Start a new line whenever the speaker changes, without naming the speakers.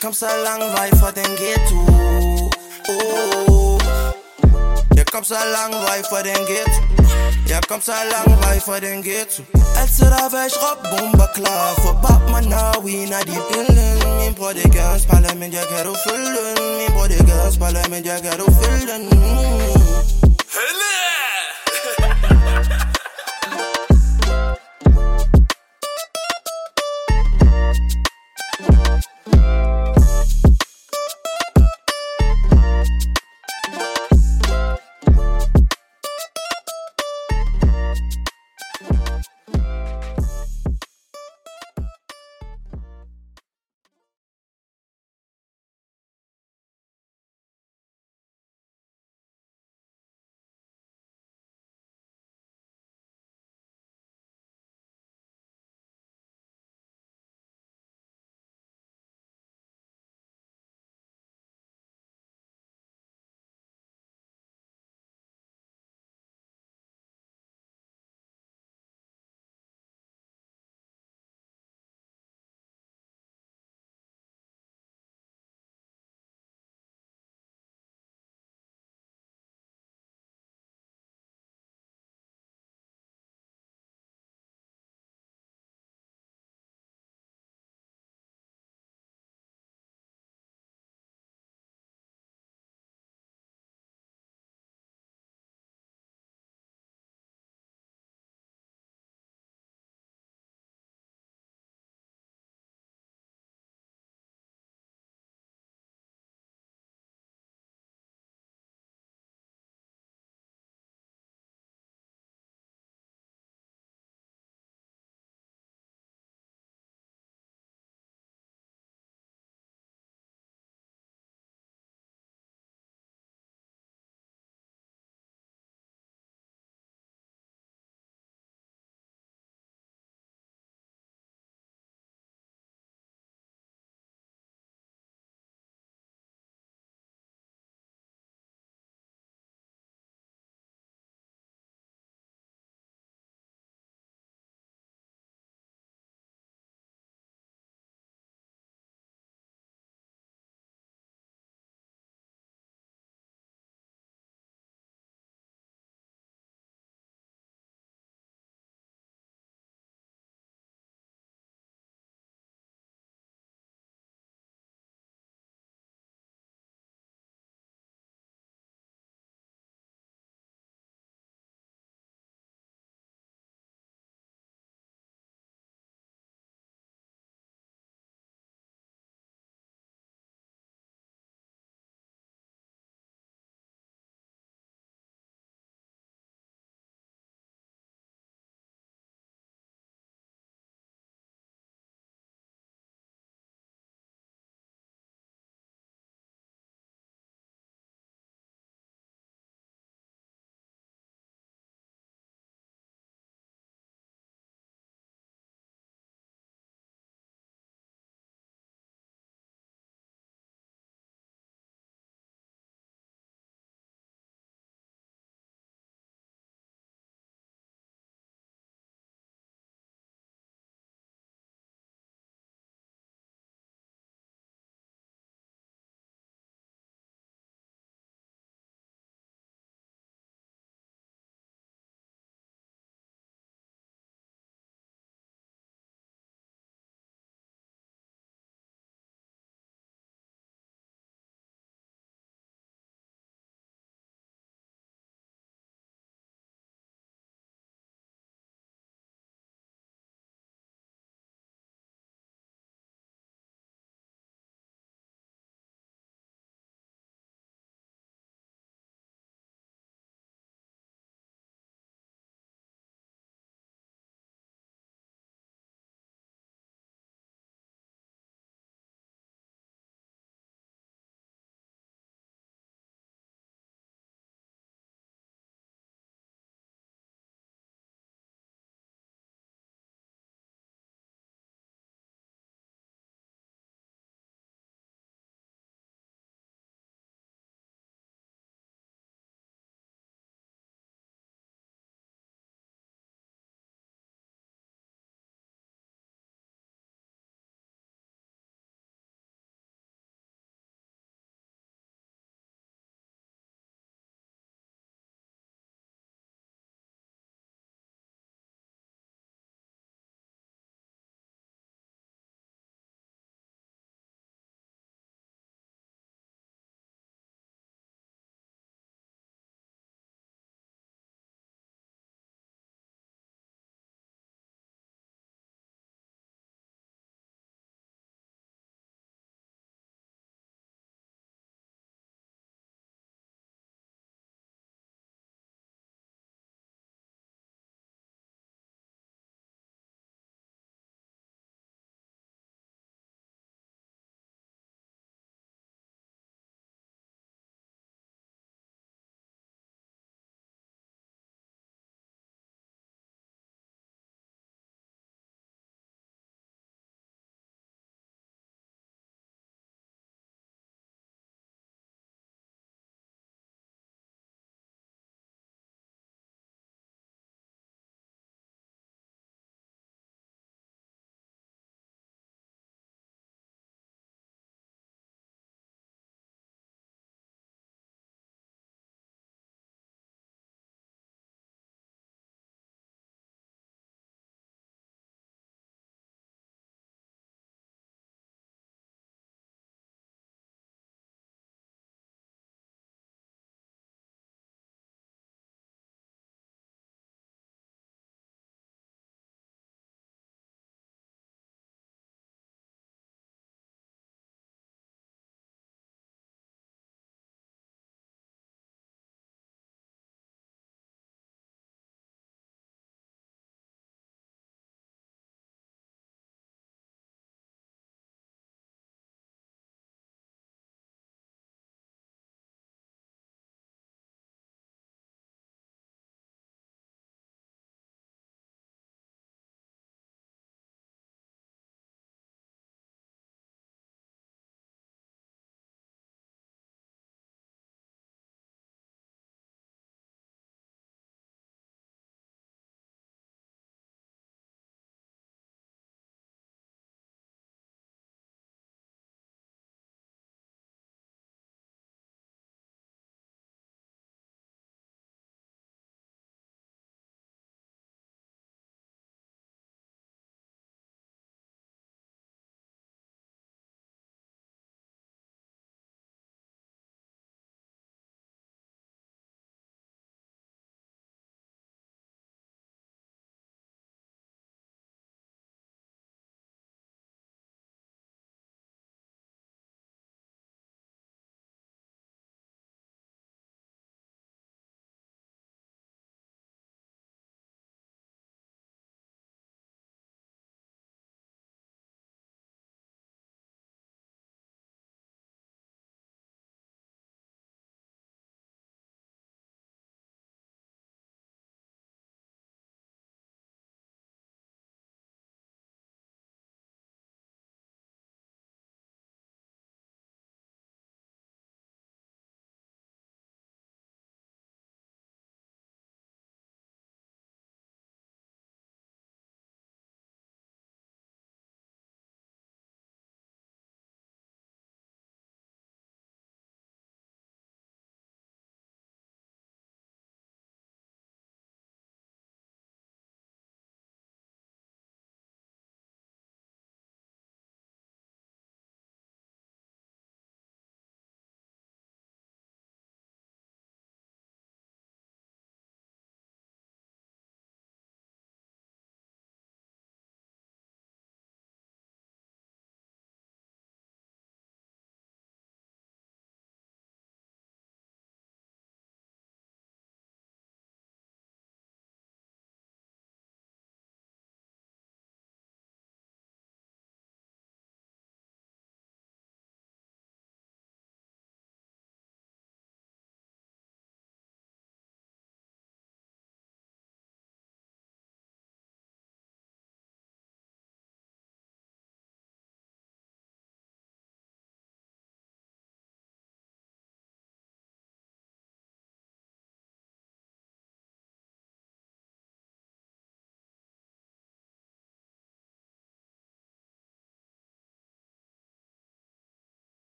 kommst so lang weit vor den Ghetto. Oh, ja kommst so lang weit vor den Ghetto. Ja kommst so lang weit vor den Ghetto. Als er da wäsch rob bomba klar, verbat man na wina die Pillen. Mein Bruder ganz Parlament ja ghetto füllen, mein Bruder ganz Parlament ja ghetto füllen. Mm.